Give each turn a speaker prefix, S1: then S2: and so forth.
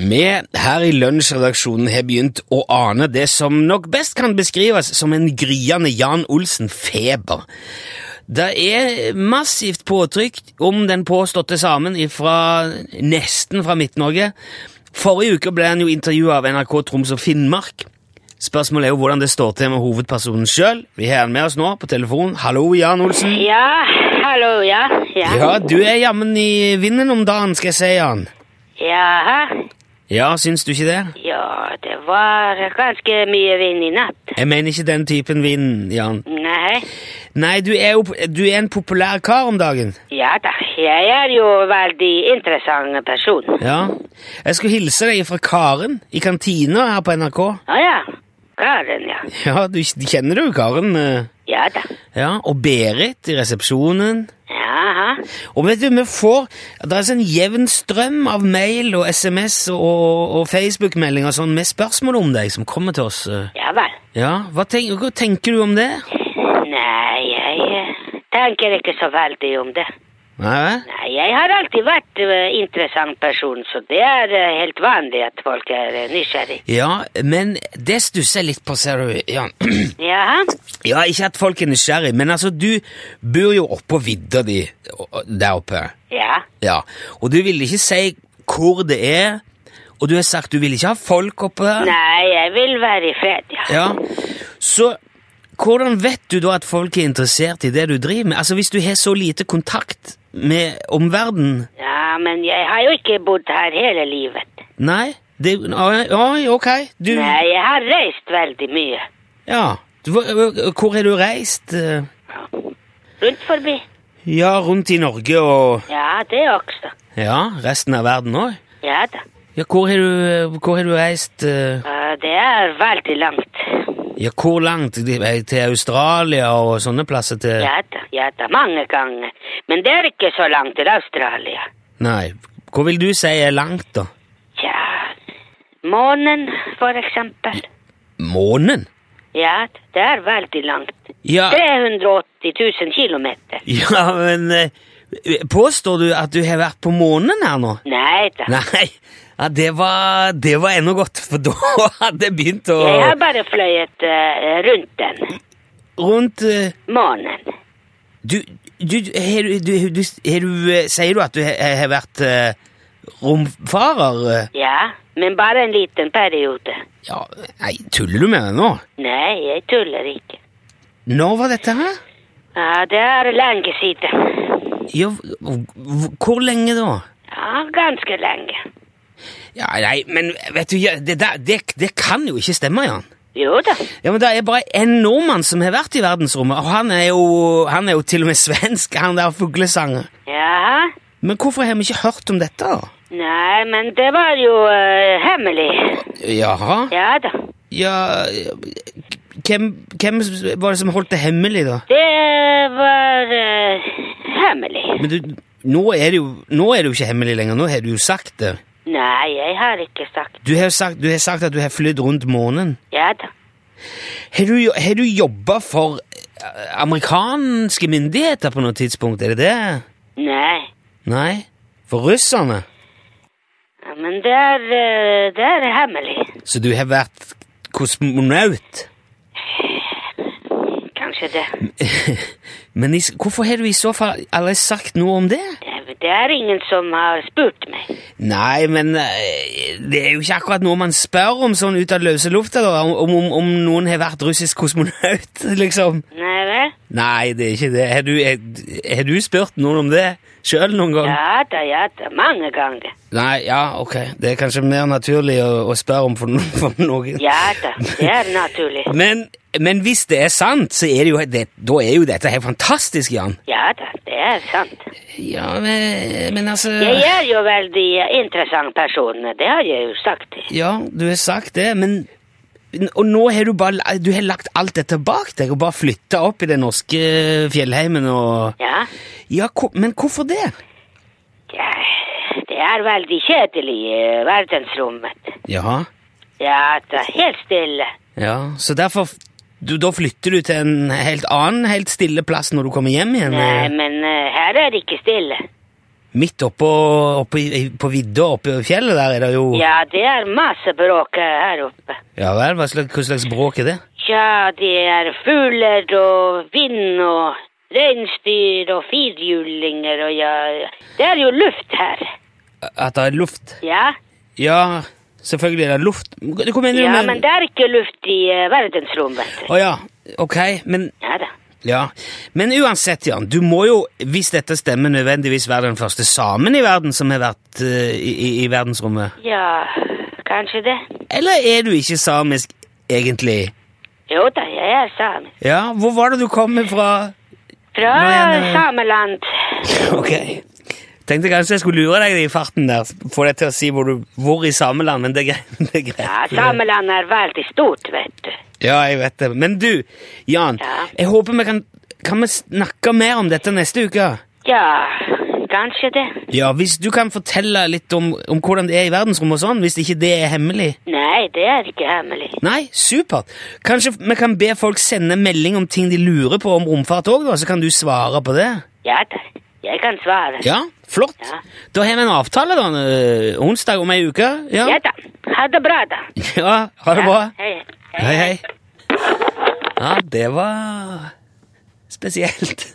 S1: Vi her i lunsjredaksjonen har begynt å ane det som nok best kan beskrives som en gryende Jan Olsen-feber. Det er massivt påtrykk om den påståtte samen ifra, nesten fra Midt-Norge. Forrige uke ble han jo intervjua av NRK Troms og Finnmark. Spørsmålet er jo hvordan det står til med hovedpersonen sjøl. Vi har han med oss nå på telefon. Hallo, Jan Olsen.
S2: Ja, hallo, ja. Ja,
S1: Ja, du er jammen i vinden om dagen, skal jeg si, Jan.
S2: Jaha.
S1: Ja, syns du ikke det?
S2: ja det var ganske mye vind i natt.
S1: Jeg mener ikke den typen vind, Jan.
S2: Nei,
S1: Nei, du er jo du er en populær kar om dagen.
S2: ja da, jeg er jo veldig interessant person.
S1: Ja. Jeg skulle hilse deg fra Karen i kantina her på NRK.
S2: Å ja, Karen, ja.
S1: Ja, du kjenner du Karen? eh?
S2: Ja da.
S1: Ja, og Berit i resepsjonen.
S2: Jaha.
S1: Og vet du, vi får Det er altså en jevn strøm av mail og SMS og, og Facebook-meldinger og sånn med spørsmål om deg som kommer til oss. eh.
S2: Ja vel.
S1: Ja, hva tenker, hva tenker du om det?
S2: Nei, jeg eh, tenker ikke så veldig om det.
S1: Nei,
S2: Nei, jeg har alltid vært eh, interessant person, så det er eh, helt vanlig at folk er eh, nysgjerrig.
S1: Ja, men det stusser jeg litt på, ser du, Jan.
S2: Jaha.
S1: Ja, ikke at folk er nysgjerrig, men altså, du bor jo oppå vidda di og- og der oppe.
S2: Ja.
S1: Ja, og du vil ikke si hvor det er, og du har sagt du vil ikke ha folk oppe der.
S2: Nei, jeg vil være i fred, ja.
S1: Ja, så hvordan vet du da at folk er interessert i det du driver med? Altså, hvis du har så lite kontakt med omverdenen?
S2: Ja, men jeg har jo ikke bodd her hele livet.
S1: Nei? Det, oi, ok, du...
S2: Nei, jeg har reist veldig mye.
S1: Ja, Du- hvor hvor har du reist? eh?
S2: Rundt forbi.
S1: Ja, rundt i Norge og
S2: Ja, det også.
S1: ja, resten av verden òg.
S2: Ja da.
S1: Ja, hvor har du, hvor har du reist eh,
S2: Eh, Det er veldig langt.
S1: Ja, hvor langt? Eh, Til Australia og sånne plasser til
S2: Ja da, ja da, mange ganger. Men det er ikke så langt til Australia.
S1: Nei. Hvor vil du si er langt, da?
S2: Tja, månen for eksempel.
S1: Månen?
S2: Ja, det er veldig langt.
S1: Ja,
S2: 380 000 kilometer.
S1: ja men eh, Påstår du at du har vært på månen her nå?
S2: Nei da.
S1: Nei. Ja, det var, det var ennå godt, for da hadde jeg begynt å
S2: Jeg har bare fløyet eh, rundt den.
S1: Rundt eh,
S2: Månen.
S1: Du, du, du, har du, du, du, har du eh, Sier du at du har- har vært eh, romfarer? eh?
S2: Ja, men bare en liten periode.
S1: Ja, nei, tuller du med meg nå?
S2: Nei, jeg tuller ikke.
S1: Når var dette her?
S2: Ja, det er lenge siden.
S1: Ja, v- v- hvor lenge da?
S2: Ja, ganske lenge.
S1: Ja, nei, men vet du, ja, det, der, det, det kan jo ikke stemme, Jan.
S2: Jo da.
S1: Ja, men Det er bare én nordmann som har vært i verdensrommet, og han er jo, han er jo til og med svensk, han der fuglesanger.
S2: Jaha.
S1: Men hvorfor har vi ikke hørt om dette? da?
S2: Nei, men det var jo eh, hemmelig.
S1: Jaha?
S2: Ja da.
S1: Ja hvem, hvem var det som holdt det hemmelig, da?
S2: Det var eh, hemmelig.
S1: Men du, nå er det jo, nå er det jo ikke hemmelig lenger, nå har du jo sagt det.
S2: Nei, jeg har ikke sagt.
S1: Du har jo sagt, du har sagt at du har flydd rundt månen.
S2: Ja da.
S1: Har du, har du jobba for eh, amerikanske myndigheter på noe tidspunkt? Er det det?
S2: Nei.
S1: Nei? For russerne?
S2: Ja, Men det er, eh, det er hemmelig.
S1: Så du har vært kosmonaut?
S2: Kanskje det.
S1: Men i, s- hvorfor har du i så fall aldri sagt noe om det?
S2: Det er ingen som har spurt meg.
S1: Nei, men eh, det er jo ikke akkurat noe man spør om sånn ut av løse lufta, da. Om, om, om noen har vært russisk kosmonaut, liksom.
S2: Nei vel?
S1: Nei, det er ikke det. Har du, er- har du spurt noen om det sjøl noen gang?
S2: Ja da, ja da. Mange ganger.
S1: Nei, ja, ok. Det er kanskje mer naturlig å, å spørre om for, no- for noen.
S2: Ja da, det er naturlig.
S1: Men, men hvis det er sant, så er det jo, det, da er jo dette helt fantastisk, Jan.
S2: Ja da, det er sant.
S1: Ja, men, men altså
S2: Jeg er jo veldig interessant person, det har jeg jo sagt.
S1: Ja, du har sagt det, men Og nå har du bare la- du har lagt alt dette bak deg og bare flytta opp i den norske fjellheimen og
S2: Ja,
S1: Ja, hvor- men hvorfor det?
S2: ja det er veldig kjedelig i verdensrommet.
S1: Jaha.
S2: Ja da, helt stille.
S1: Ja, så derfor f- du, Da flytter du til en helt annen, helt stille plass når du kommer hjem igjen?
S2: Nei,
S1: eh?
S2: men eh, her er det ikke stille.
S1: Midt oppå, oppå i- på vidda oppe i fjellet der er det jo
S2: Ja, det er masse bråk eh, her oppe.
S1: Ja vel, hva slags, hva slags bråk er det?
S2: Ja, det er fugler og vind og reinsdyr og firhjulinger og ja Det er jo luft her.
S1: At det er luft?
S2: Ja.
S1: Ja, selvfølgelig er det luft. Hva mener
S2: ja,
S1: du
S2: men det er ikke luft i eh, verdensrommet.
S1: Å ja, ok, men
S2: Ja da.
S1: Ja, Men uansett, Jan, du må jo, hvis dette stemmer, nødvendigvis være den første samen i verden som har vært eh, i, i, i verdensrommet.
S2: Ja, kanskje det.
S1: Eller er du ikke samisk, egentlig?
S2: Jo da, jeg er same.
S1: Ja, hvor var det du kom fra?
S2: Fra
S1: Men, eh,
S2: Sameland.
S1: Ok. Tenkte kanskje jeg skulle lure deg i farten der, få deg til å si hvor, du, hvor i sameland, men det er greit. det er greit.
S2: Ja, Sameland er veldig stort, vet du.
S1: Ja, jeg vet det. Men du, Jan,
S2: Ja.
S1: jeg håper vi kan, kan vi snakke mer om dette neste uke.
S2: Ja, kanskje det.
S1: Ja, Hvis du kan fortelle litt om, om hvordan det er i verdensrommet og sånn, hvis ikke det er hemmelig.
S2: Nei, det er ikke hemmelig.
S1: Nei, supert. Kanskje vi kan be folk sende melding om ting de lurer på om romfart òg, så kan du svare på det?
S2: Ja da, jeg kan svare.
S1: Ja, flott.
S2: Ja.
S1: Da har vi en avtale, da. øh, Onsdag om ei uke. Ja,
S2: Ja da. Ha det bra, da.
S1: ja ha det bra.
S2: Ja, hei.
S1: Hei, hei. Ja, det var spesielt.